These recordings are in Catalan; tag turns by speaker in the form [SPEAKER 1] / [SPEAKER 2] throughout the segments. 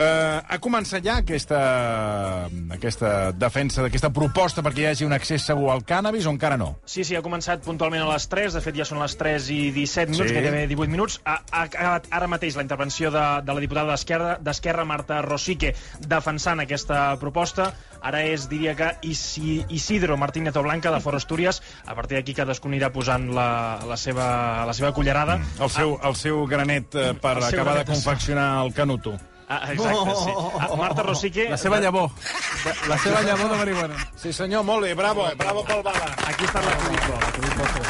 [SPEAKER 1] Eh, ha començat ja aquesta, aquesta defensa, aquesta proposta perquè hi hagi un accés segur al cànnabis o encara no?
[SPEAKER 2] Sí, sí, ha començat puntualment a les 3, de fet ja són les 3 i 17 minuts,
[SPEAKER 1] Sí.
[SPEAKER 2] sí. gairebé 18 minuts. Ha, ha acabat ara mateix la intervenció de, de la diputada d'Esquerra, d'Esquerra Marta Rosique, defensant aquesta proposta. Ara és, diria que, Isi, Isidro Martínez Blanca, de Foro Astúries. A partir d'aquí cadascú anirà posant la, la, seva, la seva cullerada. Mm.
[SPEAKER 1] El seu, el seu granet eh, per
[SPEAKER 2] El seu
[SPEAKER 1] acabar
[SPEAKER 2] granet,
[SPEAKER 1] de confeccionar el canuto.
[SPEAKER 2] Ah, exacte, sí.
[SPEAKER 1] Oh.
[SPEAKER 2] Ah, Marta Rosique...
[SPEAKER 3] La seva llavor. La seva llavor de marihuana.
[SPEAKER 1] Sí senyor, molt bé, bravo, eh? bravo pel bala.
[SPEAKER 2] Aquí està la pel·lícula.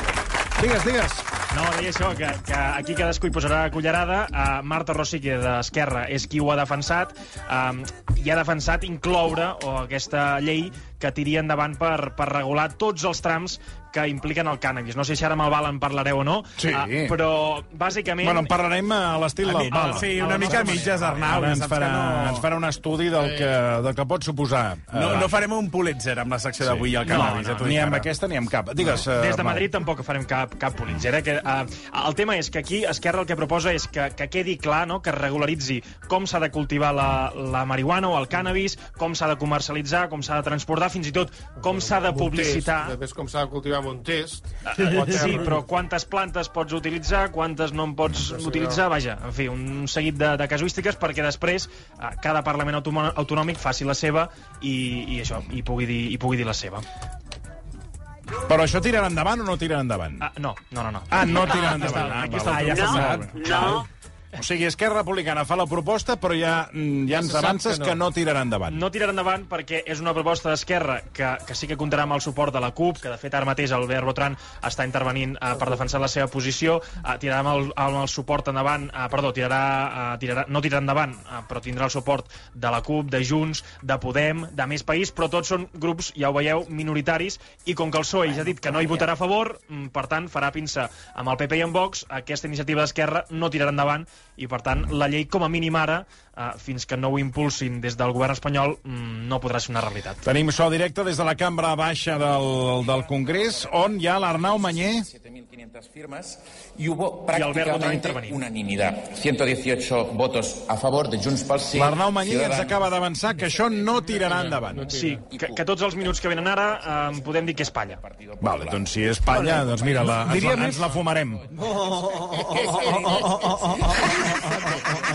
[SPEAKER 1] Digues, digues.
[SPEAKER 2] No, deia això, que, que aquí cadascú hi posarà cullerada. Uh, Marta Rosique, d'Esquerra, és qui ho ha defensat. Um, I ha defensat incloure o aquesta llei que tiri endavant per, per regular tots els trams que impliquen el cànnabis. No sé si ara amb el Val en parlareu o no,
[SPEAKER 1] Sí.
[SPEAKER 2] ah, però bàsicament...
[SPEAKER 1] Bueno, en parlarem eh, a l'estil del bala.
[SPEAKER 3] Sí, una mica a mitges, Arnau.
[SPEAKER 1] Ara
[SPEAKER 3] ja
[SPEAKER 1] ens
[SPEAKER 3] saps que
[SPEAKER 1] farà,
[SPEAKER 3] no-
[SPEAKER 1] ens farà un estudi del que, del que pot suposar. eh,
[SPEAKER 3] No, no farem un Pulitzer amb la secció d'avui al cannabis.
[SPEAKER 2] no,
[SPEAKER 3] ja t'ho dic
[SPEAKER 1] ni amb
[SPEAKER 3] ara.
[SPEAKER 1] aquesta ni amb cap. Digues, eh,
[SPEAKER 2] Des de
[SPEAKER 1] Arnau.
[SPEAKER 2] Madrid tampoc farem cap, cap Pulitzer. Eh? Que, eh, el tema és que aquí Esquerra el que proposa és que, que quedi clar, no? que es regularitzi com s'ha de cultivar la, la marihuana o el cànnabis, com s'ha de comercialitzar, com s'ha de transportar, fins i tot com s'ha de publicitar. Ah,
[SPEAKER 4] Després com s'ha de cultivar amb un test.
[SPEAKER 2] Sí, però quantes plantes pots utilitzar, quantes no en pots utilitzar, vaja, en fi, un seguit de, de casuístiques perquè després eh, cada Parlament automo- autonòmic faci la seva i, i això, i pugui dir, i pugui dir la seva.
[SPEAKER 1] Però això tirarà endavant o no tirarà endavant?
[SPEAKER 2] Ah, no, no, no, no.
[SPEAKER 1] Ah, no tirarà endavant. Ah,
[SPEAKER 2] Aquí està
[SPEAKER 1] val.
[SPEAKER 2] el problema.
[SPEAKER 1] No. O sigui, Esquerra Republicana fa la proposta, però ja, mm, ja ens
[SPEAKER 4] se sap
[SPEAKER 1] avances
[SPEAKER 4] que
[SPEAKER 1] que no, que
[SPEAKER 4] no.
[SPEAKER 1] no tirarà endavant.
[SPEAKER 2] No tirarà endavant perquè és una proposta d'Esquerra que, que sí que comptarà amb el suport de la CUP, que de fet ara mateix Albert Botran està intervenint eh, per defensar la seva posició, eh, tirarà amb el, amb el suport endavant, eh, perdó, tirarà, eh, tirarà, no tirarà endavant, eh, però tindrà el suport de la CUP, de Junts, de Podem, de Més País, però tots són grups, ja ho veieu, minoritaris, i com que el PSOE ja ha dit que no hi votarà a favor, mm, per tant, farà pinça amb el PP i amb Vox, aquesta iniciativa d'Esquerra no tirarà endavant, i per tant, la llei com a mínim ara, eh, fins que no ho impulsin des del govern espanyol, mm, no podrà ser una realitat.
[SPEAKER 1] Tenim so directe des de la cambra baixa del, del Congrés, on hi ha l'Arnau Mañé.
[SPEAKER 5] 7.500 firmas y hubo
[SPEAKER 2] Y Alberto también
[SPEAKER 5] prácticamente
[SPEAKER 2] intervenía.
[SPEAKER 5] unanimidad. 118 votos a favor de Junts pel Sí.
[SPEAKER 1] L'Arnau Mañé ens
[SPEAKER 5] Ciudadanos.
[SPEAKER 1] acaba d'avançar que això no tirarà endavant.
[SPEAKER 2] Sí, que, que tots els minuts que venen ara eh, podem dir que és palla.
[SPEAKER 1] Vale, doncs si és palla, doncs mira, la, ens, la, ens la fumarem.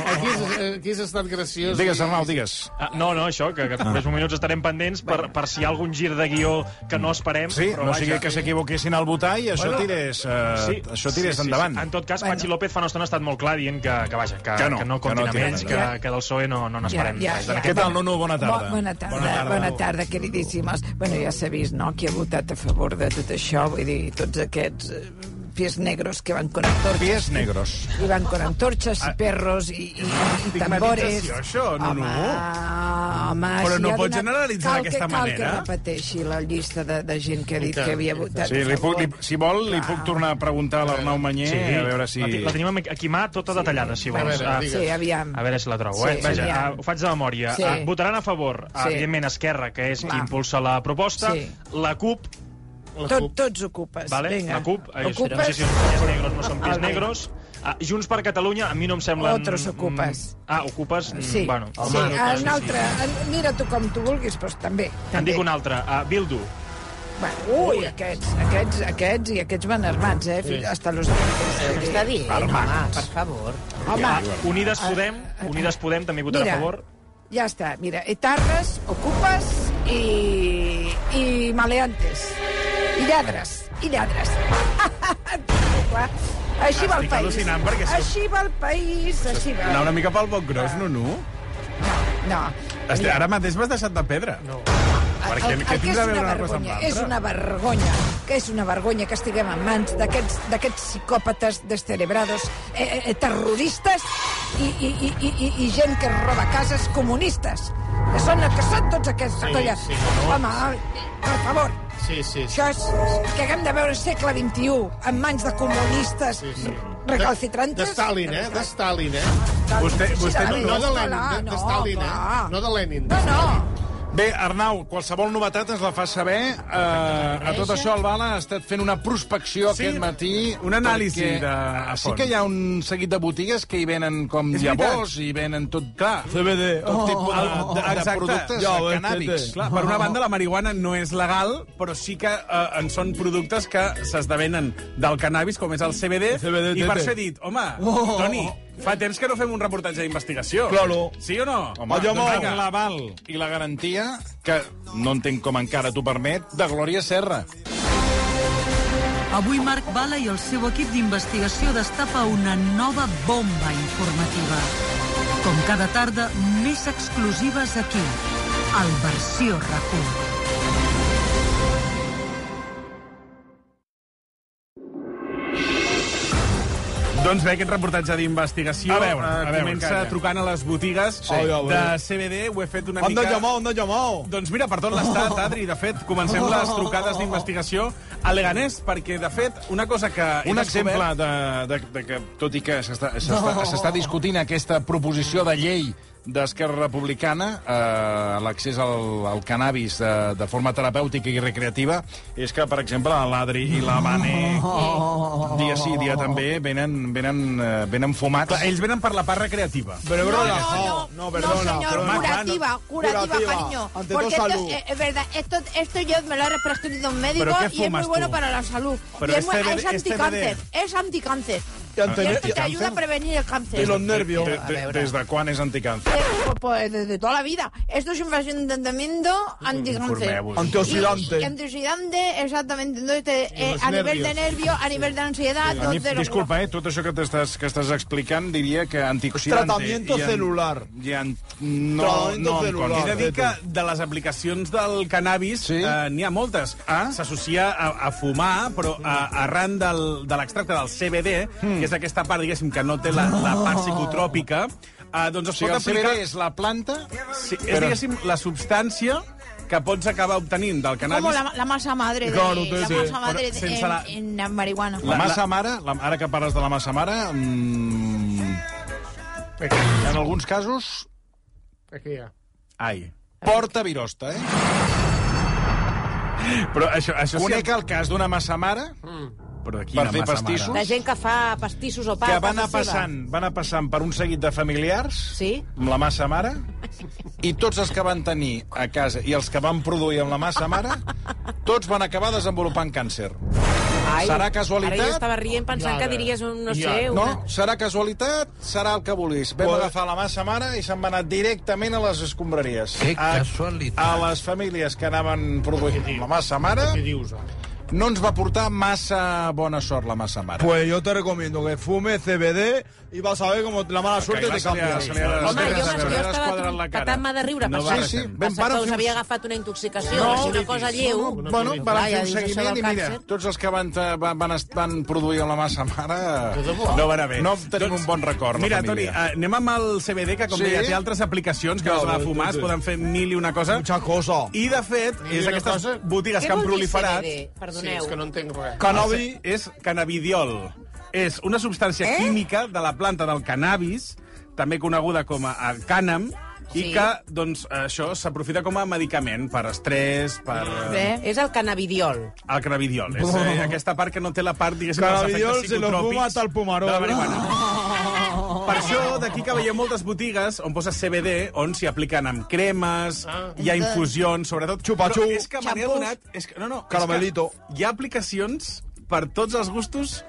[SPEAKER 4] Aquí, has, aquí has estat graciós.
[SPEAKER 1] Digues, Arnau, digues.
[SPEAKER 2] Ah, no, no, això, que, que en els minuts estarem pendents per, per si hi ha algun gir de guió que no esperem.
[SPEAKER 1] Sí,
[SPEAKER 2] però
[SPEAKER 1] no
[SPEAKER 2] vaja.
[SPEAKER 1] sigui que s'equivoquessin al votar i això tirés, eh, això tirés endavant.
[SPEAKER 2] En tot cas, bueno. Patxi López fa una estona ha estat molt clar dient que, que vaja, que,
[SPEAKER 1] Que no,
[SPEAKER 2] que
[SPEAKER 1] que
[SPEAKER 2] no
[SPEAKER 1] no
[SPEAKER 2] comptin amb
[SPEAKER 1] tiren
[SPEAKER 2] ells, que,
[SPEAKER 1] endavant.
[SPEAKER 2] que del PSOE no, no n'esperem.
[SPEAKER 6] Ja,
[SPEAKER 2] res.
[SPEAKER 6] ja, ja.
[SPEAKER 1] Què tal, Nunu? Bona tarda.
[SPEAKER 6] Bo- Bona tarda, bona tarda, bona tarda queridíssimes. Bueno, ja s'ha vist, no?, qui ha votat a favor de tot això, vull dir, tots aquests eh, pies negros que van con antorxes,
[SPEAKER 1] Pies negros.
[SPEAKER 6] i van con antorxes i perros i, i, i tambores.
[SPEAKER 3] Ah. Estigmatització, això, no, no.
[SPEAKER 6] Home, home,
[SPEAKER 3] Però
[SPEAKER 6] si
[SPEAKER 3] no
[SPEAKER 6] ha
[SPEAKER 3] pots
[SPEAKER 6] donat-
[SPEAKER 3] generalitzar
[SPEAKER 6] cal
[SPEAKER 3] d'aquesta
[SPEAKER 6] que, Cal que
[SPEAKER 3] manera.
[SPEAKER 6] repeteixi la llista de, de gent que ha dit que havia votat
[SPEAKER 1] Sí,
[SPEAKER 6] a
[SPEAKER 1] li puc,
[SPEAKER 6] favor.
[SPEAKER 1] li, si vol, li puc tornar a preguntar a l'Arnau Mañé, sí. a veure si...
[SPEAKER 2] La, ti- la tenim amb- aquí mà tota detallada, si vols.
[SPEAKER 4] veure,
[SPEAKER 2] Ah,
[SPEAKER 4] digues.
[SPEAKER 6] Sí, aviam.
[SPEAKER 2] A veure si la trobo,
[SPEAKER 6] Sí,
[SPEAKER 2] eh? Vaja,
[SPEAKER 6] aviam.
[SPEAKER 2] ah, ho faig de memòria.
[SPEAKER 6] Sí.
[SPEAKER 2] Ah, votaran a favor, ah,
[SPEAKER 6] Sí.
[SPEAKER 2] evidentment, Esquerra, que és
[SPEAKER 6] Clar.
[SPEAKER 2] qui impulsa la proposta,
[SPEAKER 6] Sí.
[SPEAKER 2] la CUP,
[SPEAKER 4] La
[SPEAKER 6] Tot,
[SPEAKER 4] CUP.
[SPEAKER 6] tots ocupes.
[SPEAKER 2] Vale?
[SPEAKER 6] Vinga.
[SPEAKER 2] La CUP, eh,
[SPEAKER 6] ocupes,
[SPEAKER 2] no sé si són pies negros, no són pies
[SPEAKER 6] Vale.
[SPEAKER 2] negros. Ah, Junts per Catalunya, a mi no em semblen...
[SPEAKER 6] Otros ocupes.
[SPEAKER 2] Mm, Ah, ocupes? Mm,
[SPEAKER 6] Sí,
[SPEAKER 2] Bueno,
[SPEAKER 6] sí,
[SPEAKER 2] home, no,
[SPEAKER 6] un altre. en- Mira tu com tu vulguis, però també.
[SPEAKER 2] En
[SPEAKER 6] també.
[SPEAKER 2] dic un altre, a Bildu.
[SPEAKER 6] Bueno, ui, aquests, aquests, aquests i aquests van armats, eh? Fins hasta los dientes.
[SPEAKER 7] Què està dient, home,
[SPEAKER 6] Armats.
[SPEAKER 7] per favor.
[SPEAKER 6] Home, Ah,
[SPEAKER 2] Ah, Unides Podem, Unides Podem també votarà
[SPEAKER 6] Mira.
[SPEAKER 2] a favor.
[SPEAKER 6] ja està. Mira, etarres, ocupes i, i maleantes. I lladres, i lladres. Clar, Així va el
[SPEAKER 3] Estic
[SPEAKER 6] país.
[SPEAKER 3] al·lucinant, perquè si-
[SPEAKER 6] Així va el país, així va.
[SPEAKER 3] Anar una mica pel boc gros, no, no?
[SPEAKER 6] No,
[SPEAKER 3] Este, ara mateix m'has deixat de pedra. No. Perquè
[SPEAKER 6] el, el
[SPEAKER 3] què
[SPEAKER 6] que és
[SPEAKER 3] tindrà a
[SPEAKER 6] una
[SPEAKER 3] veure una cosa amb
[SPEAKER 6] vergonya,
[SPEAKER 3] l'altra?
[SPEAKER 6] és una vergonya, que és una vergonya que estiguem en mans d'aquests d'aquests psicòpates descerebrados, eh, eh, eh, terroristes i, i, i, i, i, i gent que roba cases comunistes, que són el que són tots aquests.
[SPEAKER 4] Sí,
[SPEAKER 6] colla.
[SPEAKER 4] sí, no, no.
[SPEAKER 6] Home, ai, per favor,
[SPEAKER 4] Sí, sí, sí.
[SPEAKER 6] això és que haguem de veure segle XXI en mans de comunistes sí, sí. recalcitrantes.
[SPEAKER 4] De Stalin, eh? De Stalin, eh?
[SPEAKER 3] Vostè- vostè
[SPEAKER 4] No, no de Lenin, de, de Stalin, eh? No de Lenin.
[SPEAKER 6] No, no.
[SPEAKER 1] Bé, Arnau, qualsevol novetat ens la fa saber. Eh, a tot això, el Bala ha estat fent una prospecció
[SPEAKER 3] Sí,
[SPEAKER 1] aquest matí.
[SPEAKER 3] una anàlisi
[SPEAKER 1] perquè,
[SPEAKER 3] de-
[SPEAKER 1] eh,
[SPEAKER 3] a
[SPEAKER 1] Sí
[SPEAKER 3] fons.
[SPEAKER 1] que hi ha un seguit de botigues que hi venen com
[SPEAKER 3] És
[SPEAKER 1] llavors, hi venen tot, clar,
[SPEAKER 3] CBD.
[SPEAKER 1] tot tipus de, de,
[SPEAKER 3] Ah,
[SPEAKER 1] de productes
[SPEAKER 3] Jo,
[SPEAKER 1] de cannàbics.
[SPEAKER 3] Clar, per una banda, la marihuana no és legal, però sí que eh, en són productes que s'esdevenen del cannabis, com és el CBD,
[SPEAKER 1] Oh.
[SPEAKER 8] CBD,
[SPEAKER 3] i per
[SPEAKER 8] tete.
[SPEAKER 3] això he dit, home,
[SPEAKER 8] Oh.
[SPEAKER 3] Toni, fa temps que no fem un reportatge d'investigació.
[SPEAKER 8] Claro.
[SPEAKER 3] Sí o no?
[SPEAKER 1] Home,
[SPEAKER 8] Allò
[SPEAKER 1] doncs
[SPEAKER 8] molt.
[SPEAKER 1] vinga, l'aval i la garantia, que no entenc com encara t'ho permet, de Glòria Serra.
[SPEAKER 9] Avui Marc Bala i el seu equip d'investigació destapa una nova bomba informativa. Com cada tarda, més exclusives aquí, al Versió RAC1.
[SPEAKER 3] Doncs bé, aquest reportatge d'investigació eh,
[SPEAKER 1] A veure, a veure,
[SPEAKER 3] comença
[SPEAKER 1] calla.
[SPEAKER 3] trucant a les botigues
[SPEAKER 1] Sí. Ai, a veure.
[SPEAKER 3] de CBD. Ho he fet una
[SPEAKER 8] Hem de
[SPEAKER 3] mica...
[SPEAKER 8] llamar, hem de llamar.
[SPEAKER 3] Doncs mira, per tot
[SPEAKER 1] Oh.
[SPEAKER 3] l'estat, Adri, de fet, comencem les trucades d'investigació a Leganés, perquè, de fet, una cosa que... he
[SPEAKER 1] Un
[SPEAKER 3] descobert-
[SPEAKER 1] exemple de, de, de que, tot i que s'està s'està- s'està discutint aquesta proposició de llei d'Esquerra Republicana, eh, l'accés al, al cannabis de, de forma terapèutica i recreativa, és que, per exemple, l'Adri i la Vane, dia sí, dia també, venen, venen, eh, venen fumats.
[SPEAKER 3] Clar, ells venen per la part recreativa.
[SPEAKER 8] Pero,
[SPEAKER 7] No,
[SPEAKER 8] perdona,
[SPEAKER 7] no, no,
[SPEAKER 8] no, perdona.
[SPEAKER 7] no, señor,
[SPEAKER 8] perdona.
[SPEAKER 7] curativa, curativa,
[SPEAKER 8] Curativa.
[SPEAKER 7] cariño.
[SPEAKER 8] Ante todo,
[SPEAKER 7] Porque esto
[SPEAKER 8] salud.
[SPEAKER 7] es, eh, es verdad, esto, esto yo me lo ha prescrito un médico
[SPEAKER 3] ¿Pero qué
[SPEAKER 7] y es muy
[SPEAKER 3] fumas
[SPEAKER 7] bueno
[SPEAKER 3] tú?
[SPEAKER 7] para la salud.
[SPEAKER 3] Pero
[SPEAKER 7] y
[SPEAKER 3] es
[SPEAKER 7] es,
[SPEAKER 8] este
[SPEAKER 3] CBD,
[SPEAKER 7] muy- es
[SPEAKER 3] es
[SPEAKER 7] anticáncer, es anticáncer.
[SPEAKER 8] Y ante-
[SPEAKER 7] Y esto
[SPEAKER 8] y-
[SPEAKER 7] te ayuda a prevenir el
[SPEAKER 8] y
[SPEAKER 7] cáncer.
[SPEAKER 8] los nervios.
[SPEAKER 1] De, de, des de quan és anticàncer?
[SPEAKER 7] Eh, Pues desde toda la vida. Esto siempre ha sido un tratamiento anticáncer.
[SPEAKER 1] Informeu-vos.
[SPEAKER 8] Antioxidante.
[SPEAKER 7] Y- antioxidante, exactamente. Entonces, te- eh,
[SPEAKER 4] los
[SPEAKER 7] a nivel de
[SPEAKER 4] nervios.
[SPEAKER 7] nervio, a nivel de ansiedad,
[SPEAKER 1] A mi,
[SPEAKER 7] entonces,
[SPEAKER 1] disculpa, eh, tot això que t'estàs que estàs explicant diria que antioxidante...
[SPEAKER 8] Tratamiento
[SPEAKER 1] i an-
[SPEAKER 8] celular.
[SPEAKER 1] I an, no,
[SPEAKER 8] Tratamiento
[SPEAKER 1] no em
[SPEAKER 8] celular.
[SPEAKER 3] He de
[SPEAKER 1] consta.
[SPEAKER 3] dir que de les aplicacions del cannabis
[SPEAKER 1] Sí?
[SPEAKER 3] sí? eh, n'hi ha moltes.
[SPEAKER 1] Ah.
[SPEAKER 3] S'associa a, a fumar, però a, arran del, de l'extracte del CBD,
[SPEAKER 1] Hmm.
[SPEAKER 3] que és aquesta part, diguéssim, que no té la, la part psicotròpica, eh, doncs
[SPEAKER 1] O
[SPEAKER 3] es
[SPEAKER 1] sigui,
[SPEAKER 3] pot
[SPEAKER 1] el
[SPEAKER 3] aplicar...
[SPEAKER 1] CBD és la planta...
[SPEAKER 3] Sí, és,
[SPEAKER 1] Espera.
[SPEAKER 3] diguéssim, la substància que pots acabar obtenint del
[SPEAKER 7] como
[SPEAKER 3] cannabis...
[SPEAKER 7] la, la masa madre de,
[SPEAKER 1] Claro,
[SPEAKER 7] la
[SPEAKER 1] sí.
[SPEAKER 7] masa madre
[SPEAKER 3] Pero
[SPEAKER 7] en,
[SPEAKER 3] sense la-
[SPEAKER 7] en la marihuana.
[SPEAKER 1] La, massa mare, la, ara que parles de la massa mare, mm, en alguns casos
[SPEAKER 4] Aquí hi ha.
[SPEAKER 3] Ai.
[SPEAKER 1] porta virosta, eh?
[SPEAKER 3] Però això, això sí... Mm.
[SPEAKER 1] Conec el cas d'una massa mare
[SPEAKER 3] Però de
[SPEAKER 1] per fer
[SPEAKER 3] massa mare?
[SPEAKER 1] pastissos.
[SPEAKER 7] La gent que fa pastissos o pa
[SPEAKER 1] que
[SPEAKER 7] a
[SPEAKER 1] va
[SPEAKER 7] casa
[SPEAKER 1] anar
[SPEAKER 7] seva.
[SPEAKER 1] passant, va anar passant per un seguit de familiars
[SPEAKER 7] Sí.
[SPEAKER 1] amb la massa mare i tots els que van tenir a casa i els que van produir amb la massa mare tots van acabar desenvolupant càncer.
[SPEAKER 10] Ai,
[SPEAKER 1] Serà casualitat?
[SPEAKER 10] Ara jo estava rient pensant
[SPEAKER 4] I
[SPEAKER 10] que
[SPEAKER 4] ara?
[SPEAKER 10] diries un, no
[SPEAKER 4] I
[SPEAKER 10] sé...
[SPEAKER 4] ara?
[SPEAKER 10] Una...
[SPEAKER 1] No, serà casualitat, serà el que vulguis. Vam
[SPEAKER 8] Bueno.
[SPEAKER 1] agafar la massa mare i se'n va anar directament a les escombraries.
[SPEAKER 8] Que
[SPEAKER 1] A-
[SPEAKER 8] casualitat.
[SPEAKER 1] A les famílies que anaven produint la massa mare
[SPEAKER 4] Què dius, ara?
[SPEAKER 1] no ens va portar massa bona sort la massa mare.
[SPEAKER 8] Pues yo te recomiendo que fume CBD y vas a ver cómo la mala suerte
[SPEAKER 1] va
[SPEAKER 8] te
[SPEAKER 1] se li ha-
[SPEAKER 8] cambia.
[SPEAKER 1] se li ha-
[SPEAKER 10] Home,
[SPEAKER 1] Espera,
[SPEAKER 10] jo,
[SPEAKER 1] espera,
[SPEAKER 10] jo
[SPEAKER 1] espera,
[SPEAKER 3] quadrat la
[SPEAKER 10] estava
[SPEAKER 3] cara.
[SPEAKER 10] patant-me de riure.
[SPEAKER 3] No
[SPEAKER 10] No,
[SPEAKER 3] va,
[SPEAKER 1] Sí, sí,
[SPEAKER 3] res.
[SPEAKER 1] ben
[SPEAKER 10] pensava
[SPEAKER 1] pare...
[SPEAKER 10] que us havia agafat una intoxicació, no, una cosa lleu.
[SPEAKER 1] No, bueno, van
[SPEAKER 10] Clar,
[SPEAKER 1] fer
[SPEAKER 10] ja
[SPEAKER 1] un
[SPEAKER 10] dius, això
[SPEAKER 1] seguiment
[SPEAKER 10] del
[SPEAKER 1] i mira,
[SPEAKER 10] càncer.
[SPEAKER 1] tots els que van, van, van, van produir amb la massa mare...
[SPEAKER 3] No van haver.
[SPEAKER 1] No tenim un bon record, la
[SPEAKER 3] Mira, Toni,
[SPEAKER 1] família.
[SPEAKER 3] eh, anem amb el CBD, que com
[SPEAKER 1] Sí? doncs
[SPEAKER 3] sí? deia, té altres aplicacions que
[SPEAKER 8] Ja,
[SPEAKER 3] no, les
[SPEAKER 8] sí,
[SPEAKER 3] de fumar,
[SPEAKER 8] sí.
[SPEAKER 3] es poden fer mil i una cosa.
[SPEAKER 8] Mucha cosa.
[SPEAKER 3] I, de fet,
[SPEAKER 4] Mil i
[SPEAKER 3] és
[SPEAKER 4] una
[SPEAKER 3] aquestes
[SPEAKER 4] cosa?
[SPEAKER 3] botigues
[SPEAKER 10] Què
[SPEAKER 3] que han
[SPEAKER 10] vol dir
[SPEAKER 3] proliferat...
[SPEAKER 10] CBD?
[SPEAKER 4] Sí,
[SPEAKER 10] Perdoneu.
[SPEAKER 4] és que no entenc res.
[SPEAKER 3] Cannabi és cannabidiol. És una substància eh? química de la planta del cannabis, també coneguda com a a cànam, i
[SPEAKER 10] Sí.
[SPEAKER 3] que doncs, això s'aprofita com a medicament per estrès, per...
[SPEAKER 10] Bé,
[SPEAKER 3] eh,
[SPEAKER 10] Oh. és el cannabidiol.
[SPEAKER 3] El cannabidiol. És eh, aquesta part que no té la part, diguéssim, dels
[SPEAKER 8] Cannabidiol
[SPEAKER 3] efectes
[SPEAKER 8] se lo fuma
[SPEAKER 3] psicotròpics
[SPEAKER 8] tal Pumarol.
[SPEAKER 3] de la marihuana.
[SPEAKER 10] Oh.
[SPEAKER 3] Per això, d'aquí que veieu moltes botigues on posa CBD, on s'hi apliquen amb cremes,
[SPEAKER 8] Ah.
[SPEAKER 3] hi ha infusions, sobretot...
[SPEAKER 8] Xupa-xup.
[SPEAKER 3] Però És que me n'he
[SPEAKER 8] Xampús.
[SPEAKER 3] adonat... És que, no, no, és
[SPEAKER 8] Caramelito.
[SPEAKER 3] que Hi ha aplicacions per tots els gustos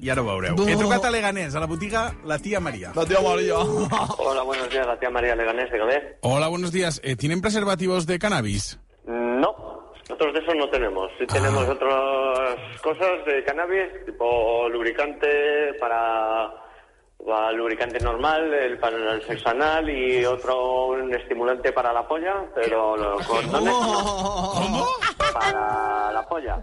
[SPEAKER 3] i ara ho veureu.
[SPEAKER 8] No.
[SPEAKER 3] He trucat a Leganés, a la botiga La Tia Maria.
[SPEAKER 8] La tía María.
[SPEAKER 11] Hola, buenos días, la tía María Leganés, de Galer.
[SPEAKER 3] Hola, buenos días. Eh, ¿Tienen preservativos de cannabis?
[SPEAKER 11] No, nosotros de eso no tenemos. Sí tenemos
[SPEAKER 8] Ah.
[SPEAKER 11] otras cosas de cannabis, tipo lubricante para, para lubricante normal, el para el sexo anal y otro un estimulante para la polla, pero lo- con dones, para la polla.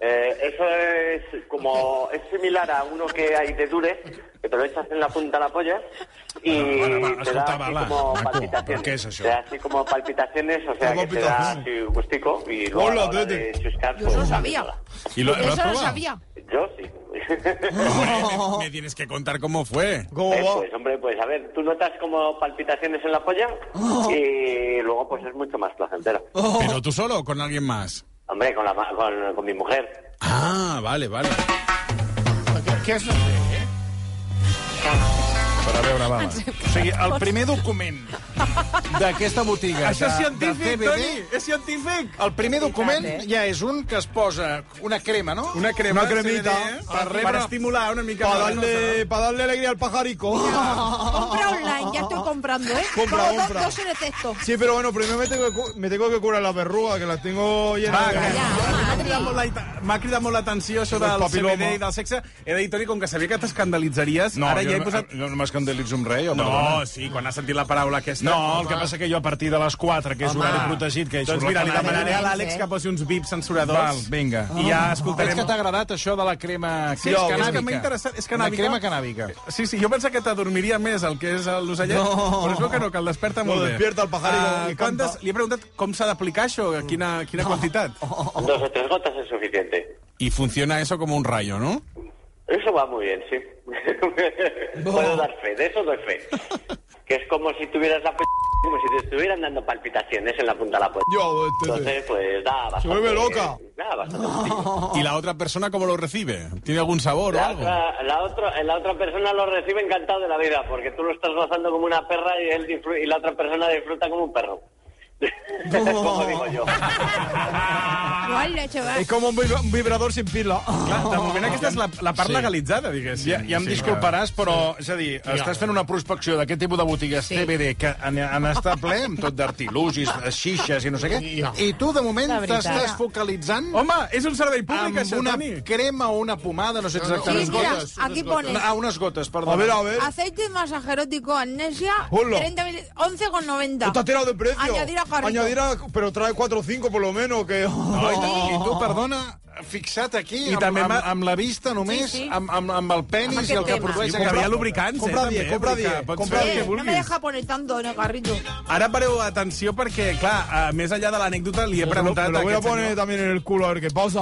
[SPEAKER 11] Eh, eso es como es similar a uno que hay de dure, que te lo echas en la punta a la polla y
[SPEAKER 1] Bueno, bueno, va,
[SPEAKER 11] te da
[SPEAKER 1] escolta,
[SPEAKER 11] así
[SPEAKER 1] va, va,
[SPEAKER 11] como
[SPEAKER 1] maco,
[SPEAKER 11] palpitaciones.
[SPEAKER 1] què és això?
[SPEAKER 11] Te da así como palpitaciones, o sea
[SPEAKER 1] Com
[SPEAKER 11] que te da
[SPEAKER 1] palpitacions?
[SPEAKER 11] así gustico y luego
[SPEAKER 1] Hola,
[SPEAKER 11] a la hora de
[SPEAKER 1] Tete.
[SPEAKER 11] chuscar,
[SPEAKER 7] Yo
[SPEAKER 11] pues,
[SPEAKER 7] eso lo
[SPEAKER 11] sabes
[SPEAKER 7] sabía.
[SPEAKER 11] nada.
[SPEAKER 3] ¿Y lo, lo has
[SPEAKER 7] Eso lo
[SPEAKER 3] probado?
[SPEAKER 7] sabía.
[SPEAKER 11] Yo sí.
[SPEAKER 3] Me, me tienes que contar cómo fue.
[SPEAKER 11] Eh, pues hombre, pues a ver, tú notas como palpitaciones en la polla
[SPEAKER 3] Oh.
[SPEAKER 11] y luego pues es mucho más placentero.
[SPEAKER 3] ¿Pero tú solo o con alguien más?
[SPEAKER 11] Hombre, con, la, ma- con, con mi mujer.
[SPEAKER 3] Ah, vale, vale.
[SPEAKER 4] Què has de
[SPEAKER 3] eh?
[SPEAKER 4] fer?
[SPEAKER 1] Per a veure, va. O sigui, el primer document d'aquesta botiga...
[SPEAKER 8] Això és
[SPEAKER 1] de-
[SPEAKER 8] científic,
[SPEAKER 1] de CBD,
[SPEAKER 8] Toni,
[SPEAKER 3] És científic!
[SPEAKER 1] El primer document
[SPEAKER 10] eh?
[SPEAKER 1] ja és un que es posa una crema, no?
[SPEAKER 3] Una crema,
[SPEAKER 8] Una cremita.
[SPEAKER 3] eh?
[SPEAKER 1] CBD, per,
[SPEAKER 8] Per
[SPEAKER 1] rebre...
[SPEAKER 8] rebre-
[SPEAKER 1] per estimular una mica...
[SPEAKER 8] Para
[SPEAKER 1] la
[SPEAKER 8] darle, para darle alegría al pajarico.
[SPEAKER 7] Compra online, ya estoy comprando, ¿eh?
[SPEAKER 8] Compra,
[SPEAKER 7] Como dos-
[SPEAKER 8] compra.
[SPEAKER 7] dos en el texto.
[SPEAKER 8] Sí, pero bueno, primero me tengo que, cu- me tengo que curar las verrugas, que las tengo llenas. de-
[SPEAKER 3] M'ha cridat molt la- M'ha cridat molt l'atenció això
[SPEAKER 8] Del
[SPEAKER 3] del
[SPEAKER 8] papiloma.
[SPEAKER 3] CBD i del sexe. He dit, Toni, com que sabia que t'escandalitzaries,
[SPEAKER 1] No,
[SPEAKER 3] ara
[SPEAKER 1] jo
[SPEAKER 3] ja he
[SPEAKER 1] no- eh,
[SPEAKER 3] posat...
[SPEAKER 1] No, no m'escandalitzo amb res, jo,
[SPEAKER 3] No,
[SPEAKER 1] perdona.
[SPEAKER 3] sí, quan has sentit la paraula aquesta...
[SPEAKER 1] No, el que passa que jo a partir de les 4, que és
[SPEAKER 3] Home.
[SPEAKER 1] horari protegit, que hi
[SPEAKER 3] Doncs
[SPEAKER 1] surt
[SPEAKER 3] mira,
[SPEAKER 1] la
[SPEAKER 3] li
[SPEAKER 1] canalla.
[SPEAKER 3] demanaré a l'Àlex
[SPEAKER 1] Eh?
[SPEAKER 3] que posi uns vips censuradors.
[SPEAKER 1] Val, vinga.
[SPEAKER 3] I ja escoltarem...
[SPEAKER 1] Veig que t'ha agradat això de la crema...
[SPEAKER 3] Sí,
[SPEAKER 1] que
[SPEAKER 3] és
[SPEAKER 1] és
[SPEAKER 3] que
[SPEAKER 1] canàbica.
[SPEAKER 3] m'ha interessat- és
[SPEAKER 1] Una
[SPEAKER 3] canàbica.
[SPEAKER 1] crema canàbica.
[SPEAKER 3] Sí, sí, jo pensava que t'adormiria més el que és el l'ocellet,
[SPEAKER 1] No.
[SPEAKER 3] però es veu que no, que el desperta
[SPEAKER 1] No,
[SPEAKER 3] molt bé.
[SPEAKER 1] despierta el pajarillo
[SPEAKER 3] Ah,
[SPEAKER 1] i
[SPEAKER 3] quantes, li he preguntat com s'ha d'aplicar això, quina, quina quantitat.
[SPEAKER 1] Oh.
[SPEAKER 11] Dos o tres gotas es suficiente.
[SPEAKER 3] I funciona eso como un rayo, ¿no?
[SPEAKER 11] Eso va muy bien, sí.
[SPEAKER 3] Oh.
[SPEAKER 11] Puedo dar fe, de eso doy fe. Que es como si tuvieras la p... como si te estuvieran dando palpitaciones en la punta de la polla.
[SPEAKER 8] Yo, este-
[SPEAKER 11] Entonces, pues da bastante...
[SPEAKER 3] vuelve loca.
[SPEAKER 11] Da bastante.
[SPEAKER 1] Oh.
[SPEAKER 3] ¿Y la otra persona cómo lo recibe? ¿Tiene algún sabor o
[SPEAKER 11] La
[SPEAKER 3] algo?
[SPEAKER 11] otra, la, otra, la otra persona lo recibe encantado de la vida, porque tú lo estás gozando como una perra y, él disfru- y la otra persona disfruta como un perro. como digo yo.
[SPEAKER 7] Guau, chaval.
[SPEAKER 8] Es como un vibra- un vibrador sin pila.
[SPEAKER 3] Clar, de moment aquesta és la, la part
[SPEAKER 1] Sí.
[SPEAKER 3] sí. legalitzada, diguéssim.
[SPEAKER 1] Ja, ja em disculparàs, però, és a dir, estàs fent una prospecció d'aquest tipus de botigues sí. TBD que han, han estat ple amb tot d'artilugis, de xixes i no sé què,
[SPEAKER 8] Ja.
[SPEAKER 1] i tu, de moment,
[SPEAKER 8] La veritat.
[SPEAKER 1] t'estàs focalitzant...
[SPEAKER 3] Home, és un servei
[SPEAKER 1] públic, amb
[SPEAKER 8] això,
[SPEAKER 1] una
[SPEAKER 8] Toni.
[SPEAKER 1] crema o una pomada, no sé
[SPEAKER 8] No, no,
[SPEAKER 1] exactament.
[SPEAKER 8] Sí, mira, Unes gotes,
[SPEAKER 7] aquí unes gotes. pones.
[SPEAKER 1] Ah, unes gotes, perdó.
[SPEAKER 8] A ver, a ver.
[SPEAKER 7] Aceite de masaje erótico amnesia,
[SPEAKER 8] Hola.
[SPEAKER 7] 30 mil- 11,90.
[SPEAKER 8] Está tirado de precio.
[SPEAKER 7] Añadir a carrito. Eh,
[SPEAKER 8] Añadir a- Pero trae 4 o 5 por lo menos, que...
[SPEAKER 1] No, i, tu, I tu, perdona, fixat aquí,
[SPEAKER 8] I
[SPEAKER 1] Oh. I amb,
[SPEAKER 8] també
[SPEAKER 1] també amb,
[SPEAKER 8] m'ha-
[SPEAKER 1] amb, la vista només, sí,
[SPEAKER 7] sí.
[SPEAKER 1] sí. Amb, amb, amb el penis
[SPEAKER 7] Amb
[SPEAKER 1] i el que
[SPEAKER 7] aquest
[SPEAKER 1] produeix...
[SPEAKER 3] tema. Sí, compra- compra
[SPEAKER 1] també,
[SPEAKER 3] 10, compra
[SPEAKER 1] vull dir que
[SPEAKER 3] 10,
[SPEAKER 1] pots
[SPEAKER 3] compra
[SPEAKER 1] fer el
[SPEAKER 3] que
[SPEAKER 7] Eh, no me
[SPEAKER 3] vulguis.
[SPEAKER 7] deja poner tanto en el carrito.
[SPEAKER 3] Ara pareu atenció perquè, clar, eh, més enllà de l'anècdota, li he
[SPEAKER 8] Me lo,
[SPEAKER 3] preguntat...
[SPEAKER 8] me lo voy a
[SPEAKER 3] aquest senyor.
[SPEAKER 8] poner también en el culo a ver qué pasa.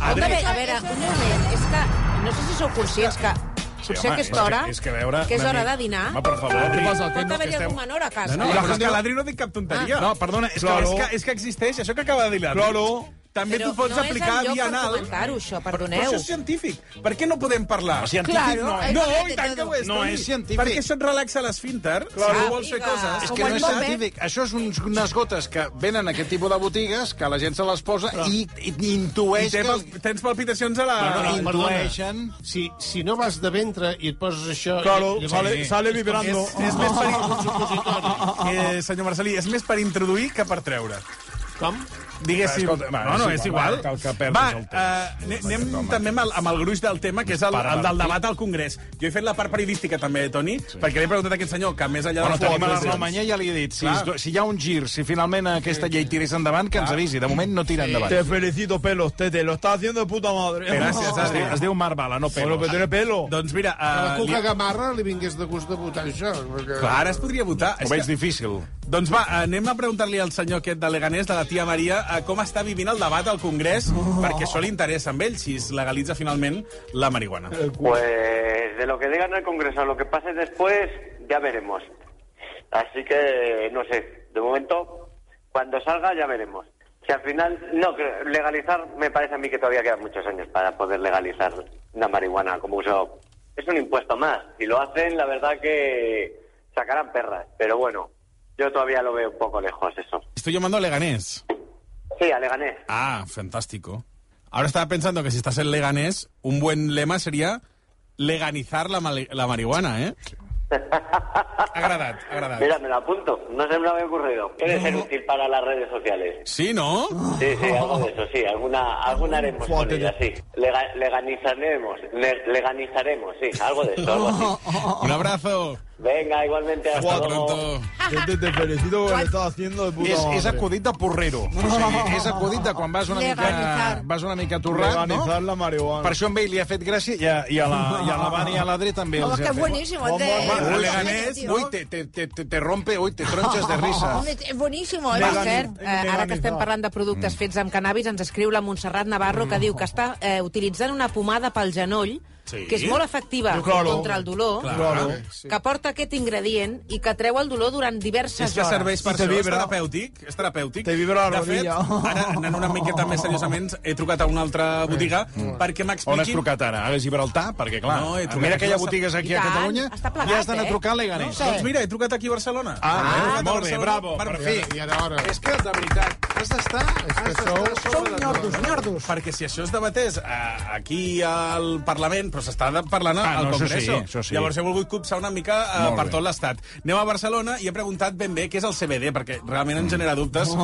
[SPEAKER 3] Adri-
[SPEAKER 10] A veure, a veure, un moment, és que no sé si sou conscients que potser
[SPEAKER 1] home, és
[SPEAKER 10] aquesta
[SPEAKER 1] que-
[SPEAKER 10] hora,
[SPEAKER 1] és que a veure,
[SPEAKER 10] que és
[SPEAKER 1] una
[SPEAKER 10] hora
[SPEAKER 1] mica-
[SPEAKER 10] de dinar,
[SPEAKER 1] Home, per favor, Adri. Què passa, que
[SPEAKER 10] pot
[SPEAKER 1] no,
[SPEAKER 10] haver-hi
[SPEAKER 1] que esteu-
[SPEAKER 10] algun menor a casa.
[SPEAKER 3] No,
[SPEAKER 1] I
[SPEAKER 3] no,
[SPEAKER 1] la
[SPEAKER 3] però és
[SPEAKER 1] gent
[SPEAKER 3] que
[SPEAKER 1] diu-
[SPEAKER 3] l'Adri no dic cap tonteria.
[SPEAKER 1] Ah. No, perdona, és que-
[SPEAKER 3] és que, és que existeix, això que acaba de dir l'Adri.
[SPEAKER 8] Claro.
[SPEAKER 3] També
[SPEAKER 10] Però
[SPEAKER 3] t'ho pots
[SPEAKER 10] no és
[SPEAKER 3] aplicar
[SPEAKER 10] el
[SPEAKER 3] a
[SPEAKER 10] lloc
[SPEAKER 3] via
[SPEAKER 10] per
[SPEAKER 3] anal.
[SPEAKER 10] comentar-ho, això,
[SPEAKER 3] Però-
[SPEAKER 10] perdoneu.
[SPEAKER 3] Però això és científic. Per què no podem parlar?
[SPEAKER 1] científic Claro, no és. ahí
[SPEAKER 3] No,
[SPEAKER 1] parlem
[SPEAKER 3] i
[SPEAKER 1] de
[SPEAKER 3] tant que ho
[SPEAKER 1] todo.
[SPEAKER 3] és.
[SPEAKER 1] No
[SPEAKER 3] Toni.
[SPEAKER 1] és científic.
[SPEAKER 3] Perquè això et relaxa l'esfínter.
[SPEAKER 1] Claro.
[SPEAKER 3] Claro. vols fer coses.
[SPEAKER 1] Ah. És que no és científic. Això és uns, unes gotes que venen a aquest tipus de botigues, que la gent se les posa i, i, i
[SPEAKER 3] I
[SPEAKER 1] intueix
[SPEAKER 3] té,
[SPEAKER 1] que...
[SPEAKER 3] pal- tens palpitacions a la...
[SPEAKER 4] Ah,
[SPEAKER 1] Bueno,
[SPEAKER 3] Intueix.
[SPEAKER 1] intueixen...
[SPEAKER 4] Si, si no vas de ventre i et poses això...
[SPEAKER 8] Claro,
[SPEAKER 4] llavors-
[SPEAKER 8] sale- sale vibrando.
[SPEAKER 4] És,
[SPEAKER 3] És més per... Eh, senyor Marcelí, és més per introduir que per treure.
[SPEAKER 4] Com?
[SPEAKER 3] Diguéssim...
[SPEAKER 1] Va, escolta, va,
[SPEAKER 3] no, no,
[SPEAKER 1] és
[SPEAKER 3] és
[SPEAKER 1] igual,
[SPEAKER 3] igual.
[SPEAKER 1] va, cal que perdis
[SPEAKER 3] va,
[SPEAKER 1] el temps.
[SPEAKER 3] eh, ane- anem també amb el, amb el gruix del tema, que és el,
[SPEAKER 1] Para,
[SPEAKER 3] el del
[SPEAKER 1] Martí.
[SPEAKER 3] debat al Congrés. Jo he fet la part periodística, també, Toni, perquè li he preguntat a aquest senyor que, més enllà
[SPEAKER 1] Bueno,
[SPEAKER 3] de les
[SPEAKER 1] tenim a doncs. l'Arnau
[SPEAKER 3] fotos-
[SPEAKER 1] Manyà, ja li he dit, si,
[SPEAKER 3] Clar.
[SPEAKER 1] es do- si hi ha un gir, si finalment aquesta llei tirés endavant, que ens avisi. De moment no tira endavant.
[SPEAKER 8] Te felicito, pelos, Tete. Lo estás haciendo de puta madre.
[SPEAKER 3] Gràcies,
[SPEAKER 1] Es diu, es diu Mar Bala, no Pelos.
[SPEAKER 8] Bueno, pero tiene pelo.
[SPEAKER 3] Doncs mira...
[SPEAKER 4] A la
[SPEAKER 3] Eh, li...
[SPEAKER 4] Cuca Gamarra li vingués de gust de votar això. Perquè...
[SPEAKER 3] Clar, ara es podria votar.
[SPEAKER 1] Ho
[SPEAKER 3] És
[SPEAKER 1] veig
[SPEAKER 3] que...
[SPEAKER 1] difícil.
[SPEAKER 3] Doncs va, anem a preguntar-li al senyor aquest de Leganés, de la tia Maria, eh, com està vivint el debat al Congrés, perquè això li interessa a ell, si es legalitza finalment la marihuana.
[SPEAKER 11] Pues de lo que digan en el Congreso, lo que pase después, ya veremos. Así que, no sé, de momento, cuando salga ya veremos. Si al final, no, creo- legalizar, me parece a mí que todavía quedan muchos años para poder legalizar la marihuana como uso. Es un impuesto más. Si lo hacen, la verdad que sacarán perras. Pero bueno, yo todavía lo veo un poco lejos eso.
[SPEAKER 3] Estoy llamando a Leganés.
[SPEAKER 11] Sí, a Leganés.
[SPEAKER 3] Ah, fantástico. Ahora estaba pensando que si estás en Leganés, un buen lema sería leganizar la, mali- la marihuana, ¿eh? Agradat, agradat.
[SPEAKER 11] Mira, me lo apunto. No se me lo había ocurrido. Puede ser útil para las redes sociales.
[SPEAKER 3] Sí, ¿no?
[SPEAKER 11] Sí, sí, algo de eso, sí. Alguna, alguna haremos con ella, sí. Lega- leganizaremos, le- leganizaremos, sí. Algo de eso, algo así.
[SPEAKER 3] Un abrazo.
[SPEAKER 11] Venga, igualmente, hasta luego.
[SPEAKER 8] Te, te felicito por lo que estás haciendo de puta
[SPEAKER 1] És, és
[SPEAKER 8] madre.
[SPEAKER 1] acudit de porrero. O sigui, és acudit de quan vas una mica,
[SPEAKER 8] Legalitzar.
[SPEAKER 1] vas una mica torrat, no?
[SPEAKER 8] Legalitzar la marihuana.
[SPEAKER 1] Per això a ell li ha fet gràcia i a, i a la, i a la Vani i a l'Adri també
[SPEAKER 7] Home,
[SPEAKER 1] els hi
[SPEAKER 7] que
[SPEAKER 1] ha fet.
[SPEAKER 7] buenísimo, el de-
[SPEAKER 1] Bueno,
[SPEAKER 7] el
[SPEAKER 1] Leganés,
[SPEAKER 7] de-
[SPEAKER 1] ui, te, te, te, te- te rompe, ui, te tronxes de risa.
[SPEAKER 7] Home, és boníssim, eh?
[SPEAKER 10] Per cert, eh, ara que estem parlant de
[SPEAKER 3] Mm.
[SPEAKER 10] productes fets amb cannabis, ens escriu la Montserrat Navarro, que diu que està eh, utilitzant una pomada pel genoll,
[SPEAKER 12] Sí.
[SPEAKER 10] que és molt efectiva
[SPEAKER 12] Jo, claro.
[SPEAKER 10] contra el dolor,
[SPEAKER 12] Claro.
[SPEAKER 10] que porta aquest ingredient i que treu el dolor durant diverses
[SPEAKER 3] És que
[SPEAKER 10] hores.
[SPEAKER 3] serveix per
[SPEAKER 8] I te
[SPEAKER 3] això, és
[SPEAKER 8] vibra.
[SPEAKER 3] terapèutic, és terapèutic.
[SPEAKER 8] Te vibra la
[SPEAKER 3] de fet,
[SPEAKER 8] rodilla.
[SPEAKER 3] ara, anant una miqueta més seriosament, he trucat a una altra botiga perquè m'expliquin...
[SPEAKER 1] Mm. On has trucat ara? A Gibraltar? Perquè, clar,
[SPEAKER 3] No, he trucat
[SPEAKER 1] mira que hi ha
[SPEAKER 3] a Barcelona.
[SPEAKER 1] botigues aquí a Catalunya i has d'anar a trucar a Leganés.
[SPEAKER 3] No, doncs mira, he trucat aquí a Barcelona.
[SPEAKER 1] Ah,
[SPEAKER 3] He trucat a
[SPEAKER 1] molt bé,
[SPEAKER 3] Barcelona.
[SPEAKER 1] bravo, per fi.
[SPEAKER 3] I
[SPEAKER 4] ara hora.
[SPEAKER 1] És que, de veritat, has d'estar... Has d'estar sobre de tot.
[SPEAKER 3] Nardos. Perquè si això es debatés eh, aquí al Parlament, però s'està de- parlant
[SPEAKER 1] Ah,
[SPEAKER 3] al
[SPEAKER 1] no, això
[SPEAKER 3] Congreso.
[SPEAKER 1] sí, això sí.
[SPEAKER 3] Llavors he volgut copsar una mica eh,
[SPEAKER 1] Molt
[SPEAKER 3] per
[SPEAKER 1] bé.
[SPEAKER 3] tot l'estat. Anem a Barcelona i he preguntat ben bé què és el CBD, perquè realment
[SPEAKER 1] Mm.
[SPEAKER 3] em genera dubtes.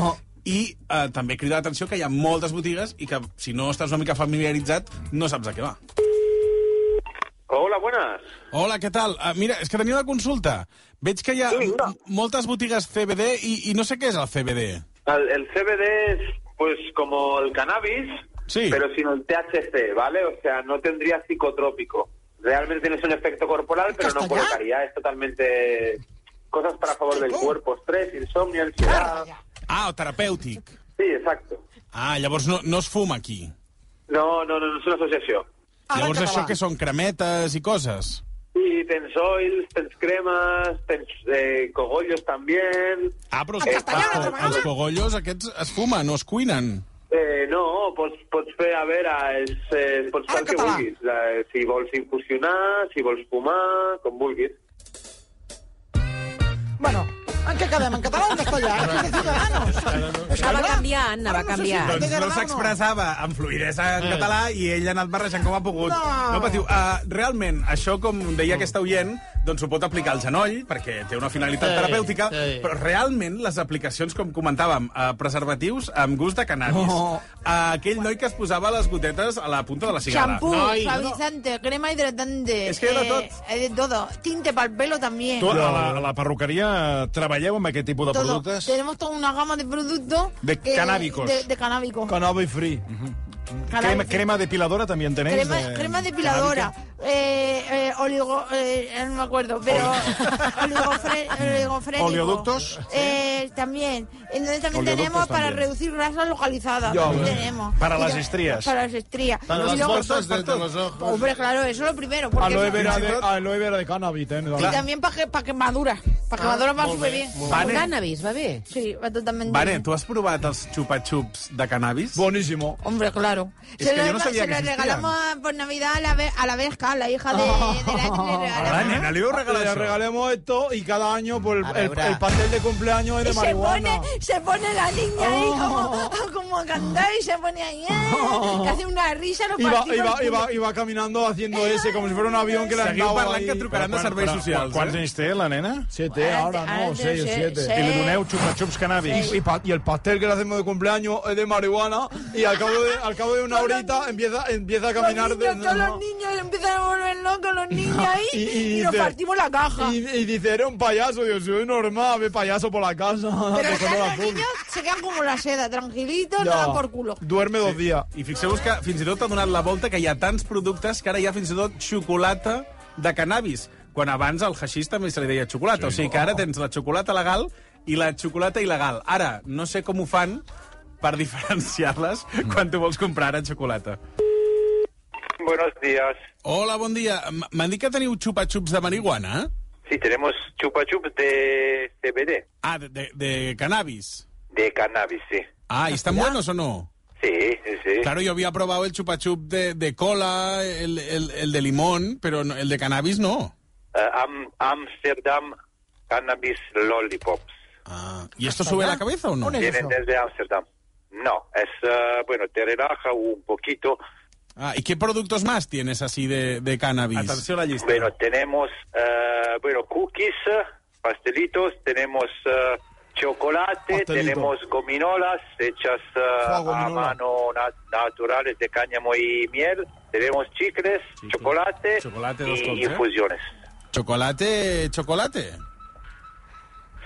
[SPEAKER 3] I eh, també crida l'atenció que hi ha moltes botigues i que, si no estàs una mica familiaritzat, no saps a què va.
[SPEAKER 11] Hola, buenas.
[SPEAKER 3] Hola, què tal? Uh, mira, és que tenia una consulta. Veig que hi ha m- moltes botigues CBD i, i no sé què és el CBD.
[SPEAKER 11] El, el CBD es pues como el cannabis, pero sin el THC, ¿vale? O sea, no tendría psicotrópico. Realmente tienes un efecto corporal, pero no colocaría. Es totalmente cosas para favor del cuerpo, estrés, insomnio, ansiedad.
[SPEAKER 3] Ah, o terapèutic.
[SPEAKER 11] Sí, exacto.
[SPEAKER 3] Ah, llavors no, no es fuma aquí.
[SPEAKER 11] No, no, no, no es una asociación.
[SPEAKER 3] Llavors
[SPEAKER 11] català.
[SPEAKER 3] això que són cremetes i coses.
[SPEAKER 11] Y tens oils, tens cremas, tens eh, cogollos también.
[SPEAKER 3] Ah, però
[SPEAKER 11] Eh,
[SPEAKER 3] els, els, els cogollos aquests es fumen, no es cuinen.
[SPEAKER 11] Eh, no, pots, pots fer, a veure, és, eh, pots fer el que vulguis. Eh, si vols infusionar, si vols fumar, com vulguis.
[SPEAKER 12] Bueno, ¿en qué quedem? ¿En catalán o en castellà? Aquí de Ciudadanos.
[SPEAKER 10] És que va canviar, Anna, va canviar.
[SPEAKER 3] Doncs no s'expressava amb fluïdesa en
[SPEAKER 10] Eh.
[SPEAKER 3] català i ell ha anat barrejant com ha pogut.
[SPEAKER 10] No.
[SPEAKER 3] no patiu. Uh, realment, això, com deia aquesta oient, doncs ho pot aplicar al genoll, perquè té una finalitat
[SPEAKER 1] Sí,
[SPEAKER 3] terapèutica,
[SPEAKER 1] sí.
[SPEAKER 3] però realment les aplicacions, com comentàvem, uh, preservatius amb gust de cannabis.
[SPEAKER 12] Oh.
[SPEAKER 3] Uh, aquell noi que es posava les gotetes a la punta de la cigala.
[SPEAKER 7] Shampoo,
[SPEAKER 3] Noi,
[SPEAKER 7] suavizante, crema hidratante.
[SPEAKER 3] Es que era
[SPEAKER 7] eh, eh, de todo. Tinte para el pelo también.
[SPEAKER 1] Tu, a la, a la perruqueria eh, treballeu amb aquest tipus de
[SPEAKER 7] Todo.
[SPEAKER 1] productes?
[SPEAKER 7] Tenemos toda una gama de productos.
[SPEAKER 1] De
[SPEAKER 7] que-
[SPEAKER 1] canábicos.
[SPEAKER 7] De, de canábicos.
[SPEAKER 1] Cannabis free. Mhm. Crema,
[SPEAKER 7] Cannabis.
[SPEAKER 1] crema depiladora també en tenéis?
[SPEAKER 7] Crema,
[SPEAKER 1] de-
[SPEAKER 7] crema depiladora. Eh, eh, oligo... eh, eh, no me acuerdo, pero... oligofre, oligofrénico.
[SPEAKER 1] Oleoductos.
[SPEAKER 7] Eh, también. Entonces también
[SPEAKER 1] Oleoductos
[SPEAKER 7] tenemos para
[SPEAKER 1] también.
[SPEAKER 7] reducir grasas localizadas.
[SPEAKER 1] Ya,
[SPEAKER 7] también
[SPEAKER 1] bueno.
[SPEAKER 7] tenemos.
[SPEAKER 1] Para
[SPEAKER 7] Y
[SPEAKER 1] las
[SPEAKER 7] lo-
[SPEAKER 1] estrías.
[SPEAKER 7] Para las estrías.
[SPEAKER 8] Para
[SPEAKER 7] Y
[SPEAKER 8] las
[SPEAKER 7] luego- pues,
[SPEAKER 8] bolsas de- de los ojos.
[SPEAKER 7] Hombre, claro, eso es lo primero. Porque
[SPEAKER 8] Aloe
[SPEAKER 7] eso-
[SPEAKER 8] vera de, aloe vera de cannabis, eh?
[SPEAKER 7] Y también para que, pa que madura. Para que
[SPEAKER 10] Ah,
[SPEAKER 7] madura va
[SPEAKER 10] molt
[SPEAKER 7] súper
[SPEAKER 10] bé,
[SPEAKER 7] bien.
[SPEAKER 3] molt bé. Vale.
[SPEAKER 7] cannabis, va bien. Sí, va totalmente
[SPEAKER 3] Vane,
[SPEAKER 7] bien.
[SPEAKER 3] tu has provat els xupa-xups de cannabis?
[SPEAKER 8] Bonísimo.
[SPEAKER 7] Hombre, claro.
[SPEAKER 3] És que jo no sabia
[SPEAKER 7] se
[SPEAKER 3] que
[SPEAKER 7] lo
[SPEAKER 3] existien.
[SPEAKER 7] regalamos a- por Navidad a la, ve- a la Vesca, a la hija de, de la
[SPEAKER 3] A la nena li heu regalat
[SPEAKER 8] Le
[SPEAKER 3] això?
[SPEAKER 8] regalemos esto y cada año por el,
[SPEAKER 3] A
[SPEAKER 8] el,
[SPEAKER 3] veure.
[SPEAKER 8] el pastel de cumpleaños es de
[SPEAKER 7] Y se
[SPEAKER 8] marihuana.
[SPEAKER 7] pone, se pone la niña ahí
[SPEAKER 4] Oh.
[SPEAKER 7] como, como a cantar y se pone ahí, eh, que hace una risa. Lo
[SPEAKER 8] Iba,
[SPEAKER 7] partimos
[SPEAKER 8] iba,
[SPEAKER 7] el
[SPEAKER 8] iba,
[SPEAKER 7] culo.
[SPEAKER 8] iba caminando haciendo ese como si fuera un avión que le
[SPEAKER 1] Seguiu
[SPEAKER 8] andaba
[SPEAKER 1] parlant
[SPEAKER 8] ahí.
[SPEAKER 1] que trucaran de serveis socials,
[SPEAKER 8] quan-
[SPEAKER 1] eh? Quants anys té la nena?
[SPEAKER 8] Siete, ahora,
[SPEAKER 1] Ara
[SPEAKER 8] no,
[SPEAKER 1] té
[SPEAKER 7] eh,
[SPEAKER 8] seis o
[SPEAKER 1] seis,
[SPEAKER 8] siete.
[SPEAKER 1] seis. I li doneu xupa-xups cannabis.
[SPEAKER 8] Y, y pa- y el pastel que le hacemos de cumpleaños es de marihuana y al cabo de, al cabo de una horita empieza, empieza a caminar...
[SPEAKER 7] Los niños,
[SPEAKER 8] de-
[SPEAKER 7] todos los niños empiezan a volver locos los niños ahí y, nos
[SPEAKER 8] dice-
[SPEAKER 7] partimos la caja.
[SPEAKER 8] Y, y dice, eres un payaso. Digo, soy normal, ve payaso por la casa.
[SPEAKER 4] "Ah,
[SPEAKER 7] Pero
[SPEAKER 8] Tocando
[SPEAKER 7] están
[SPEAKER 8] la
[SPEAKER 7] los
[SPEAKER 8] punk.
[SPEAKER 7] niños, se quedan como la seda, tranquilitos,
[SPEAKER 3] Ya.
[SPEAKER 7] nada por culo.
[SPEAKER 8] Duerme dos dies.
[SPEAKER 3] I fixeu-vos que fins i tot ha donat la volta que hi ha tants productes que ara hi ha fins i tot xocolata de cannabis, quan abans al haixís també se li deia xocolata. Sí. O sigui que ara tens la xocolata legal i la xocolata il·legal. Ara, no sé com ho fan per diferenciar-les quan tu vols comprar ara xocolata.
[SPEAKER 11] Buenos días.
[SPEAKER 3] Hola, bon dia. M- M'han dit que teniu xupa-xups de marihuana?
[SPEAKER 11] Sí, tenemos chupa chup de CBD,
[SPEAKER 3] Ah, de, de, de cannabis.
[SPEAKER 11] de cannabis, sí.
[SPEAKER 3] Ah, ¿y están buenos o no?
[SPEAKER 11] Sí, sí, sí.
[SPEAKER 3] Claro, yo había probado el chupa chup de, de cola, el, el, el de limón, pero no- el de cannabis no.
[SPEAKER 11] Eh, Am- Amsterdam Cannabis Lollipops.
[SPEAKER 3] Ah, ¿Y esto sube la cabeza o no?
[SPEAKER 11] Vienen desde Amsterdam. No, es, eh, bueno, te relaja un poquito.
[SPEAKER 3] Ah, ¿y qué productos más tienes así de, de cannabis? Atención la lista.
[SPEAKER 11] Bueno, tenemos, eh, bueno, cookies, pastelitos, tenemos eh, chocolate, tenemos gominolas hechas eh, a mano na- naturales de cáñamo y miel, tenemos chicles, chocolate,
[SPEAKER 3] dos
[SPEAKER 11] y
[SPEAKER 3] colchas.
[SPEAKER 11] infusiones.
[SPEAKER 3] ¿Chocolate, chocolate?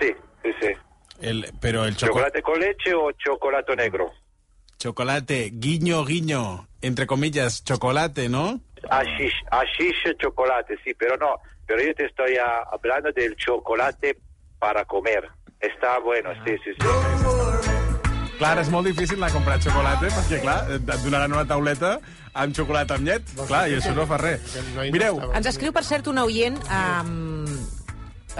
[SPEAKER 11] Sí, sí, sí.
[SPEAKER 3] El, pero el chocolate...
[SPEAKER 11] Chocolate con leche o chocolate negro.
[SPEAKER 3] Chocolate, guiño, guiño, entre comillas, chocolate, ¿no?
[SPEAKER 11] Hashish, hashish, chocolate, sí, pero no. Pero yo te estoy ah, hablando del chocolate para comer. Está bueno, sí, sí, sí.
[SPEAKER 3] Clar, és molt difícil anar a comprar xocolata, perquè, clar, et Eh, et donaran una tauleta amb xocolata amb llet.
[SPEAKER 1] Doncs
[SPEAKER 3] Clar, i això no fa res. Mireu,
[SPEAKER 10] Ens escriu, per cert, una oient... Um,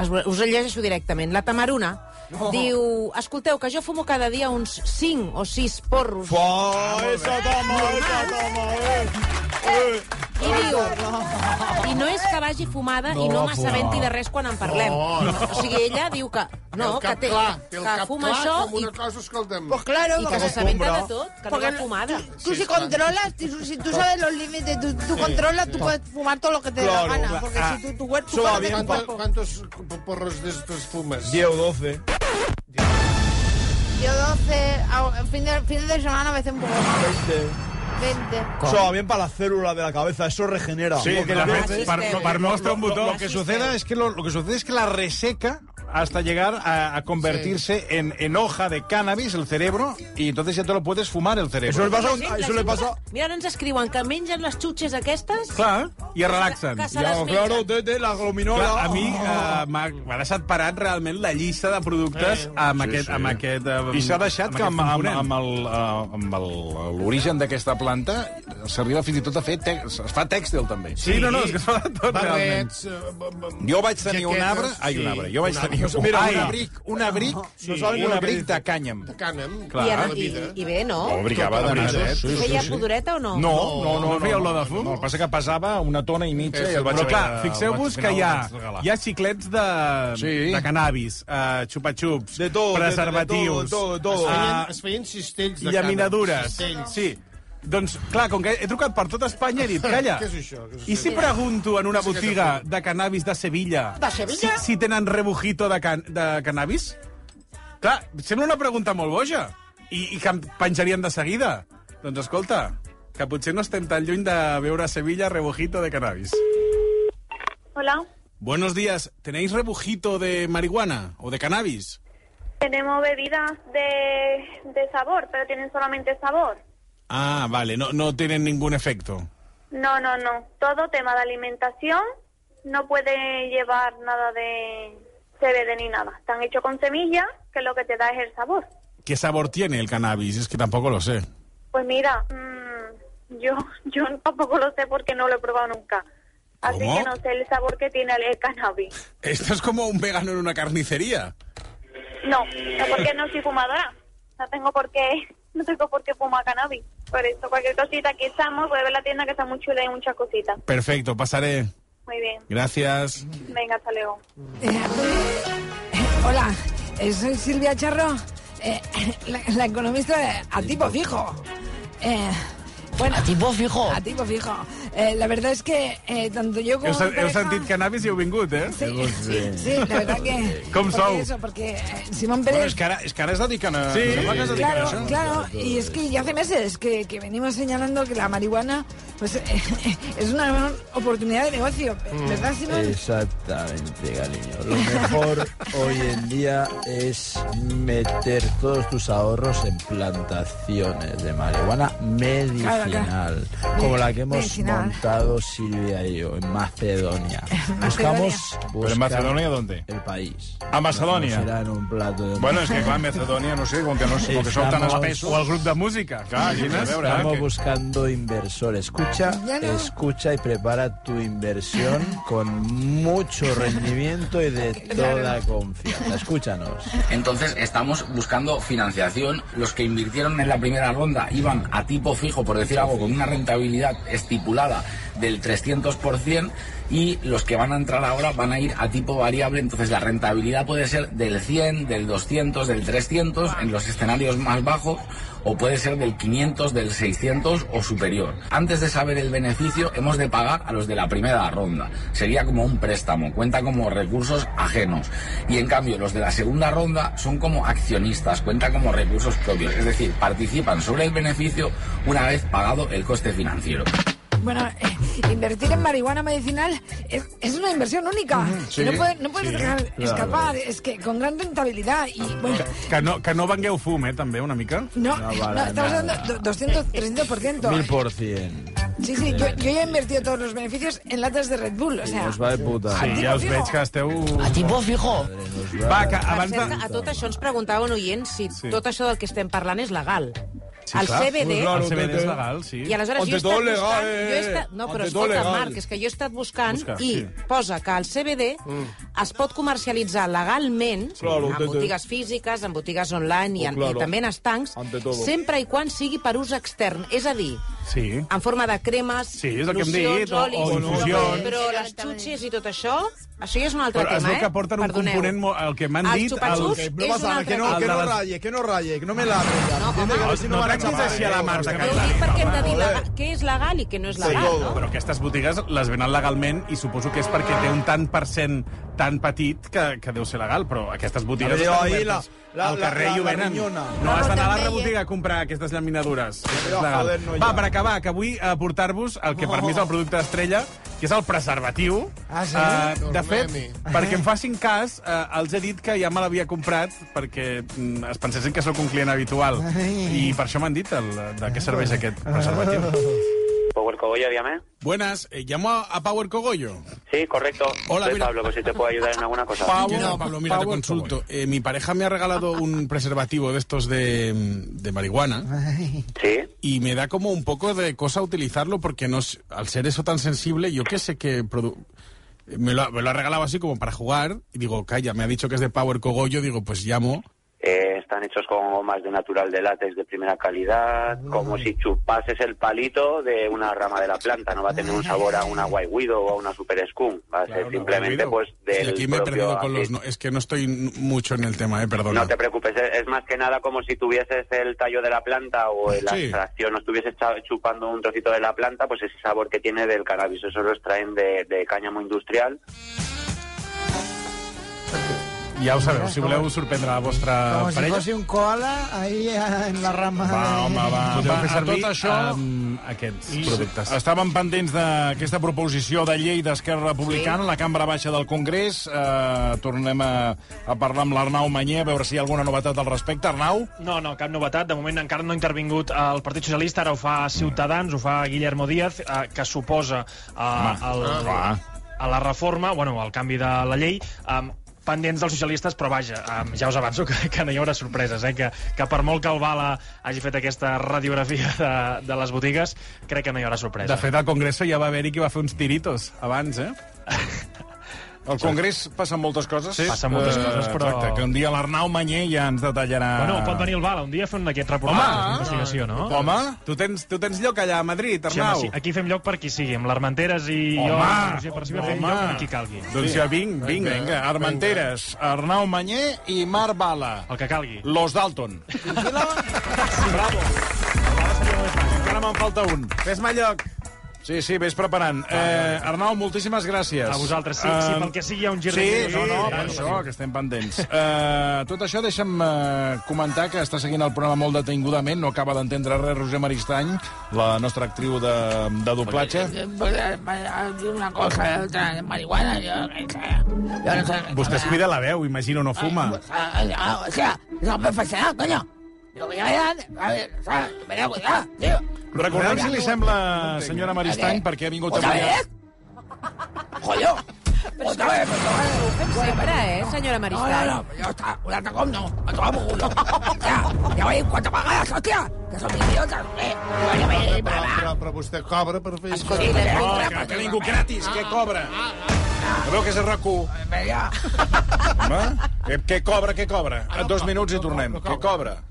[SPEAKER 10] us el llegeixo directament. La Tamaruna
[SPEAKER 4] Oh.
[SPEAKER 9] No.
[SPEAKER 10] diu... Escolteu, que jo fumo cada dia uns 5 o 6 porros.
[SPEAKER 8] Ah, esa toma, esa toma, eh. Eh.
[SPEAKER 10] I diu, i no és que vagi fumada no, i
[SPEAKER 8] No,
[SPEAKER 10] no m'assabenti
[SPEAKER 8] fumar.
[SPEAKER 10] de res quan en parlem.
[SPEAKER 8] No, no.
[SPEAKER 10] O sigui, ella diu que
[SPEAKER 4] Té
[SPEAKER 10] no,
[SPEAKER 4] el
[SPEAKER 10] que,
[SPEAKER 4] cap
[SPEAKER 10] té,
[SPEAKER 4] clar, té el
[SPEAKER 10] que
[SPEAKER 4] cap
[SPEAKER 10] fuma
[SPEAKER 4] clar
[SPEAKER 10] això
[SPEAKER 4] com
[SPEAKER 10] i,
[SPEAKER 4] una cosa, escolta'm.
[SPEAKER 7] Pues claro,
[SPEAKER 10] i
[SPEAKER 7] que
[SPEAKER 10] que
[SPEAKER 7] se
[SPEAKER 10] s'assabenta de
[SPEAKER 7] compra.
[SPEAKER 10] tot, que
[SPEAKER 7] Porque
[SPEAKER 10] no va fumada.
[SPEAKER 7] Tú si controlas, tú- si tú sabes los límites, tú, tú
[SPEAKER 4] Sí.
[SPEAKER 7] controlas, tú puedes fumar todo lo que te dé
[SPEAKER 4] Claro,
[SPEAKER 7] la gana.
[SPEAKER 4] claro.
[SPEAKER 7] Porque
[SPEAKER 4] Ah,
[SPEAKER 7] si tú, tu cuerpo...
[SPEAKER 4] Suave,
[SPEAKER 7] tu
[SPEAKER 4] ¿cuánto-
[SPEAKER 7] cuerpo-
[SPEAKER 4] ¿Cuántos porros de estos fumas?
[SPEAKER 8] 10 o 12.
[SPEAKER 7] Yo 12, a- fin de, fines de semana a veces un poco más. 20.
[SPEAKER 8] Eso bien para las células de la cabeza, eso regenera.
[SPEAKER 1] Sí,
[SPEAKER 8] Como que
[SPEAKER 1] la
[SPEAKER 8] las
[SPEAKER 1] mente-
[SPEAKER 8] veces-
[SPEAKER 1] para- no, para no estar un botón.
[SPEAKER 8] Lo que suceda
[SPEAKER 1] es que lo, lo que sucede es que la reseca hasta llegar a, a convertirse en, en hoja de cannabis el cerebro y entonces ya te lo puedes fumar el cerebro.
[SPEAKER 8] Eso le pasa a
[SPEAKER 10] La gent- la gent- Mira, ara ens escriuen que mengen les xutxes aquestes...
[SPEAKER 3] Clar, i es relaxen.
[SPEAKER 10] Que se les Ja, claro, mengen.
[SPEAKER 8] té, té, la glominola.
[SPEAKER 3] Clar, a mi eh, m'ha m'ha deixat parat realment la llista de productes amb
[SPEAKER 1] Eh, Sí,
[SPEAKER 3] aquest...
[SPEAKER 1] sí.
[SPEAKER 3] Amb aquest eh,
[SPEAKER 1] I s'ha deixat que
[SPEAKER 3] aquest
[SPEAKER 1] amb, amb,
[SPEAKER 3] component.
[SPEAKER 1] amb el, eh, amb el- l'origen d'aquesta planta s'arriba fins i tot a fer... Te es fa tèxtil, també.
[SPEAKER 3] Sí, no, no, és que es fa de tot, realment.
[SPEAKER 4] Barrets, eh, b- b-
[SPEAKER 1] Jo vaig tenir un
[SPEAKER 4] jaquetes,
[SPEAKER 1] arbre... Ai, un
[SPEAKER 4] sí,
[SPEAKER 1] arbre. Jo vaig
[SPEAKER 4] un
[SPEAKER 1] tenir
[SPEAKER 4] arbre.
[SPEAKER 1] un, ai, un abric, un abric,
[SPEAKER 4] Sí.
[SPEAKER 1] sí, un abric de cànyam.
[SPEAKER 4] De cànem.
[SPEAKER 1] Clar.
[SPEAKER 10] I,
[SPEAKER 1] La
[SPEAKER 10] i,
[SPEAKER 1] vida.
[SPEAKER 10] I bé, no?
[SPEAKER 1] Obrigava de nadet.
[SPEAKER 10] Sí, Feia pudoreta o no?
[SPEAKER 1] No, no, no.
[SPEAKER 3] no feia olor
[SPEAKER 1] de fum? No, el que passa que pesava una tona i mitja i el vaig
[SPEAKER 3] Però clar,
[SPEAKER 1] haver de-
[SPEAKER 3] fixeu-vos
[SPEAKER 1] el
[SPEAKER 3] que
[SPEAKER 1] vaig-
[SPEAKER 3] hi ha,
[SPEAKER 1] el vaig regalar.
[SPEAKER 3] hi ha xiclets de, sí. de cannabis, uh,
[SPEAKER 8] tot,
[SPEAKER 3] xupa-xups,
[SPEAKER 8] de- de- de
[SPEAKER 3] preservatius,
[SPEAKER 8] todo, de
[SPEAKER 4] Es
[SPEAKER 8] todo.
[SPEAKER 3] ah,
[SPEAKER 4] feien, es feien cistells de cànem.
[SPEAKER 3] llaminadures.
[SPEAKER 4] Cistells.
[SPEAKER 3] Sí. Doncs, clar, com que he trucat per tot Espanya, he dit, calla,
[SPEAKER 4] Què és això? Què és
[SPEAKER 3] i si
[SPEAKER 4] això?
[SPEAKER 3] pregunto en una
[SPEAKER 4] Sí que és
[SPEAKER 3] botiga de cannabis de Sevilla,
[SPEAKER 4] De Sevilla?
[SPEAKER 3] Si, si tenen rebujito de, can, de cannabis? Clar, sembla una pregunta molt boja i, i que em penjarien de seguida. Doncs escolta, que potser no estem tan lluny de veure a Sevilla rebujito de cannabis.
[SPEAKER 13] Hola,
[SPEAKER 3] Buenos días, ¿tenéis rebujito de marihuana o de cannabis?
[SPEAKER 13] tenemos bebidas de, de sabor, pero tienen solamente sabor.
[SPEAKER 3] Ah, vale, no, no tienen ningún efecto.
[SPEAKER 13] No, no, no. Todo tema de alimentación no puede llevar nada de CBD ni nada. Están hechos con semillas, que lo que te da es el sabor.
[SPEAKER 3] ¿Qué sabor tiene el cannabis? Es que tampoco lo sé.
[SPEAKER 13] Pues mira, mm, yo yo tampoco lo sé porque no lo he probado nunca. Así
[SPEAKER 3] ¿Cómo?
[SPEAKER 13] que no sé el sabor que tiene el cannabis.
[SPEAKER 3] Esto es como un vegano en una carnicería.
[SPEAKER 13] No, no porque no soy fumadora. No tengo por qué, no tengo por qué fumar cannabis. Por eso, cualquier cosita, aquí estamos, puede ver la tienda que está muy chula y hay muchas cositas.
[SPEAKER 3] Perfecto, pasaré.
[SPEAKER 13] Muy bien.
[SPEAKER 3] Gracias.
[SPEAKER 13] Venga, hasta luego.
[SPEAKER 6] Hola, eh, soy Silvia Charro, eh, la, la economista a tipo fijo. Eh, bueno, a tipo fijo. A tipo fijo. Eh, la verdad es que eh, tanto yo como
[SPEAKER 3] Heu,
[SPEAKER 6] mi
[SPEAKER 3] sen- heu
[SPEAKER 6] pareja-
[SPEAKER 3] sentit cannabis i heu vingut, eh? Sí,
[SPEAKER 6] sí, sí, la verdad que...
[SPEAKER 3] Com
[SPEAKER 6] porque
[SPEAKER 3] sou?
[SPEAKER 6] Eso, porque eh, Simón
[SPEAKER 1] Bueno,
[SPEAKER 6] Pérez...
[SPEAKER 1] és que ara, és que ara es dediquen a...
[SPEAKER 3] Sí.
[SPEAKER 1] sembla que es dediquen a
[SPEAKER 6] Claro,
[SPEAKER 1] això.
[SPEAKER 6] claro, y es que ya hace meses que, que venimos señalando que la marihuana pues, es una gran oportunidad de negocio, ¿verdad, Simón?
[SPEAKER 14] Mm. Exactamente, cariño. Lo mejor hoy en día es meter todos tus ahorros en plantaciones de marihuana medicinal,
[SPEAKER 6] Claro, claro.
[SPEAKER 14] como la que hemos
[SPEAKER 6] Medicinal.
[SPEAKER 14] contado Silvia y yo en Macedonia. Buscamos,
[SPEAKER 1] ¿Pero en Macedonia dónde?
[SPEAKER 14] El país.
[SPEAKER 1] A Macedònia.
[SPEAKER 14] No serà en un plato de...
[SPEAKER 1] Bueno, és que clar, Macedònia, no sé, com que no sé, com que sou tan
[SPEAKER 14] Estamos-
[SPEAKER 1] espessos. O el grup de música. Clar, aquí a veure, eh,
[SPEAKER 14] Estamos
[SPEAKER 1] que-
[SPEAKER 14] buscando inversor. Escucha, escucha y prepara tu inversión con mucho rendimiento y de toda confianza. Escúchanos.
[SPEAKER 15] Entonces estamos buscando financiación. Los que invirtieron en la primera ronda iban a tipo fijo, por decir algo, con una rentabilidad estipulada del 300% y los que van a entrar ahora van a ir a tipo variable. Entonces la rentabilidad puede ser del 100, del 200, del 300 en los escenarios más bajos o puede ser del 500, del 600 o superior. Antes de saber el beneficio hemos de pagar a los de la primera ronda. Sería como un préstamo, cuenta como recursos ajenos. Y en cambio los de la segunda ronda son como accionistas, cuenta como recursos propios. Es decir, participan sobre el beneficio una vez pagado el coste financiero.
[SPEAKER 6] Bueno, eh, invertir en marihuana medicinal es, es una inversión única.
[SPEAKER 3] sí,
[SPEAKER 6] no puedes, no puedes
[SPEAKER 3] sí,
[SPEAKER 6] dejar
[SPEAKER 3] claro.
[SPEAKER 6] escapar, es que con gran rentabilidad y bueno,
[SPEAKER 3] Que, que, no, que no vengueu fum, eh, també, una mica.
[SPEAKER 8] Ah,
[SPEAKER 6] no, no, estamos hablando de 200, 300%.
[SPEAKER 14] por cien.
[SPEAKER 6] Sí, sí, yo, yo ya he invertido todos los beneficios en latas de Red Bull, o sea...
[SPEAKER 14] Nos va de puta.
[SPEAKER 3] Sí, ja us veig que esteu... A
[SPEAKER 6] tipo
[SPEAKER 3] fijo. Va, que abans de...
[SPEAKER 10] Per cert, que a tot això ens preguntava un oient si tot això del que estem parlant és legal.
[SPEAKER 3] Sí,
[SPEAKER 10] el
[SPEAKER 3] clar.
[SPEAKER 10] CBD...
[SPEAKER 3] Pues claro, El CBD és legal, sí.
[SPEAKER 10] I aleshores
[SPEAKER 3] Ante
[SPEAKER 10] jo he estat
[SPEAKER 3] todo legal,
[SPEAKER 10] buscant...
[SPEAKER 3] eh,
[SPEAKER 10] Jo he estat... No, però
[SPEAKER 3] ante todo
[SPEAKER 10] escolta,
[SPEAKER 3] legal.
[SPEAKER 10] Marc, és que jo he estat buscant
[SPEAKER 3] Busca,
[SPEAKER 10] i
[SPEAKER 3] sí.
[SPEAKER 10] posa que el CBD es pot comercialitzar legalment
[SPEAKER 3] Mm. Claro,
[SPEAKER 10] en
[SPEAKER 3] ante todo.
[SPEAKER 10] botigues físiques, en botigues online i,
[SPEAKER 3] Oh,
[SPEAKER 10] en,
[SPEAKER 3] claro.
[SPEAKER 10] i també en estancs,
[SPEAKER 3] Ante todo.
[SPEAKER 10] sempre i quan sigui per ús extern. És a dir,
[SPEAKER 3] Sí.
[SPEAKER 10] en forma de cremes,
[SPEAKER 3] Sí, és el que hem
[SPEAKER 10] locions,
[SPEAKER 3] dit, o-
[SPEAKER 10] olis,
[SPEAKER 3] o
[SPEAKER 10] però-
[SPEAKER 3] infusions.
[SPEAKER 10] Però les xutxes i tot això, això ja és un altre
[SPEAKER 3] Però es
[SPEAKER 10] tema,
[SPEAKER 3] veu
[SPEAKER 10] eh?
[SPEAKER 3] que porten un
[SPEAKER 10] Perdoneu.
[SPEAKER 3] component... mo- El que m'han
[SPEAKER 10] Els
[SPEAKER 3] dit...
[SPEAKER 10] xupa-xups és
[SPEAKER 8] No pasa nada, que no, que no raye, que no raye, que no me la
[SPEAKER 3] No, no, no tractis així
[SPEAKER 8] ¿eh?
[SPEAKER 3] a la Marta. que clar.
[SPEAKER 10] Perquè hem de dir legal, què és legal i què no és legal, no?
[SPEAKER 3] Però aquestes botigues les venen legalment i suposo que és perquè té un tant per cent tan petit que, que deu ser legal, però aquestes botigues
[SPEAKER 8] A veure,
[SPEAKER 3] estan
[SPEAKER 8] ahir
[SPEAKER 3] obertes
[SPEAKER 8] la- la-
[SPEAKER 3] al
[SPEAKER 8] la-
[SPEAKER 3] carrer
[SPEAKER 8] la-
[SPEAKER 3] i ho
[SPEAKER 8] la
[SPEAKER 3] venen.
[SPEAKER 8] rinyona.
[SPEAKER 3] no has d'anar a
[SPEAKER 8] Però
[SPEAKER 3] la
[SPEAKER 8] també hi
[SPEAKER 3] rebotiga a comprar aquestes llaminadures. És
[SPEAKER 8] Però,
[SPEAKER 3] legal.
[SPEAKER 8] joder, no hi
[SPEAKER 3] Va,
[SPEAKER 8] ha.
[SPEAKER 3] per acabar, que vull eh, portar-vos el que per mi és el producte estrella, que és el preservatiu.
[SPEAKER 8] Ah, sí?
[SPEAKER 3] Eh, de fet,
[SPEAKER 8] Tornem-hi.
[SPEAKER 3] perquè em facin cas, eh, els he dit que ja me l'havia comprat perquè mm, es pensessin que sóc un client habitual. I per això m'han dit el, de
[SPEAKER 8] Ah,
[SPEAKER 3] què serveix aquest preservatiu.
[SPEAKER 11] Power Cogollo, dígame.
[SPEAKER 3] Buenas, eh, llamo a, a Power Cogollo.
[SPEAKER 11] Sí, correcto.
[SPEAKER 3] Hola,
[SPEAKER 11] Soy
[SPEAKER 3] mira.
[SPEAKER 11] Pablo, por si te puedo ayudar en alguna cosa.
[SPEAKER 3] Pablo, Pablo, mira, te consulto. Eh, mi pareja me ha regalado un preservativo de estos de, de marihuana.
[SPEAKER 11] Sí.
[SPEAKER 3] Y me da como un poco de cosa utilizarlo porque no, sé- al ser eso tan sensible, yo qué sé que... produ- Me lo, ha- me lo ha regalado así como para jugar. Y digo, calla, me ha dicho que es de Power Cogollo. Digo, pues llamo.
[SPEAKER 11] Eh, están hechos con gomas de natural de látex de primera calidad,
[SPEAKER 3] Mm.
[SPEAKER 11] como si chupases el palito de una rama de la planta. No va a tener un sabor a una White Widow o a una Super Skunk. Va a ser simplemente, pues,
[SPEAKER 3] Y
[SPEAKER 11] del
[SPEAKER 3] aquí me he
[SPEAKER 11] propio
[SPEAKER 3] perdido con los...
[SPEAKER 11] aceite.
[SPEAKER 3] no- es que no estoy n- mucho en el tema, eh, perdona.
[SPEAKER 11] No te preocupes, es es más que nada como si tuvieses el tallo de la planta o la
[SPEAKER 3] Sí.
[SPEAKER 11] extracción, o estuvieses cha- chupando un trocito de la planta, pues ese sabor que tiene del cannabis. Eso lo extraen de, de cáñamo industrial.
[SPEAKER 3] Ja ho sabeu, si voleu sorprendre la vostra
[SPEAKER 12] Como si fuese un koala ahí eh, en la rama. de-
[SPEAKER 1] Podeu fer servir um,
[SPEAKER 3] amb aquests productes.
[SPEAKER 1] Estàvem pendents d'aquesta proposició de llei d'Esquerra Republicana, la cambra baixa del Congrés. Eh, tornem a, a parlar amb l'Arnau Manyer, a veure si hi ha alguna novetat al respecte. Arnau?
[SPEAKER 2] No, no, cap novetat. De moment encara no ha intervingut el Partit Socialista, ara ho fa Ciutadans, ho fa Guillermo Díaz, eh, que s'oposa a, al,
[SPEAKER 1] ah,
[SPEAKER 2] a la reforma, bueno, al canvi de la llei, um, pendents dels socialistes, però vaja, um, ja us avanço que, que no hi haurà sorpreses, eh? que, que per molt que el Bala hagi fet aquesta radiografia de, de les botigues, crec que no hi haurà sorpresa.
[SPEAKER 3] De fet, al Congreso ja va haver-hi qui va fer uns tiritos abans, eh?
[SPEAKER 1] Al Congrés passen moltes coses. Eh,
[SPEAKER 2] Sí. Passen moltes coses, però-
[SPEAKER 1] Exacte, que un dia l'Arnau Manyer ja ens detallarà...
[SPEAKER 2] Bueno, pot venir el Bala un dia fent aquest reportatge d'investigació, no?
[SPEAKER 1] Home!
[SPEAKER 3] Tu tens, tu tens lloc allà a Madrid,
[SPEAKER 2] Sí, home,
[SPEAKER 3] Arnau?
[SPEAKER 2] sí, aquí fem lloc per qui sigui, amb l'Armenteres i jo,
[SPEAKER 1] Home!
[SPEAKER 2] amb la Perciba, fem lloc per qui calgui.
[SPEAKER 1] Doncs ja vinc, vinc. Vinga, Armenteres, Arnau Manyer i Marc Bala.
[SPEAKER 2] El que calgui.
[SPEAKER 1] Los Dalton. Encara me'n falta un.
[SPEAKER 3] Fes-me lloc.
[SPEAKER 1] Sí, sí, vés preparant. Eh, Arnau, moltíssimes gràcies.
[SPEAKER 2] A vosaltres, sí, sí, pel que sigui hi ha un gir
[SPEAKER 1] Sí,
[SPEAKER 2] de
[SPEAKER 1] no, no,
[SPEAKER 2] guió.
[SPEAKER 1] per això, que estem pendents. Eh, tot això, deixa'm eh, comentar que està seguint el programa molt detingudament, no acaba d'entendre res Roser Maristany, la nostra actriu de, de
[SPEAKER 7] Eh,
[SPEAKER 1] doblatge.
[SPEAKER 7] pues, Una cosa, otra, de marihuana, yo, eh, qué sé. yo no sé.
[SPEAKER 3] Vostè es cuida la veu, imagino, no fuma.
[SPEAKER 7] Ah, ah, O sea, no me fascina, coño. Lo que ya me dan, a ver, o sea, me da cuidado, tío.
[SPEAKER 1] Recordem si li sembla, senyora Maristany, perquè ha vingut avui... a-
[SPEAKER 10] Joder, otra vez, otra vez.
[SPEAKER 16] Sempre, eh, senyora Maristany?
[SPEAKER 10] No, no, no, ya está. Un atacón no. A tomar por culo. Ya, ya voy en cuanto pagadas, hostia. Que son idiotas. Eh, bueno, me iré para allá.
[SPEAKER 3] Però, però vostè cobra per fer això.
[SPEAKER 10] Escolti, les
[SPEAKER 3] No,
[SPEAKER 10] compra,
[SPEAKER 3] que-
[SPEAKER 1] Ah, Que ningú gratis, que cobra. Que veu que és a rac eh,
[SPEAKER 10] Venga.
[SPEAKER 1] Home, que, que cobra, que cobra. A dos minuts hi tornem. Que cobra.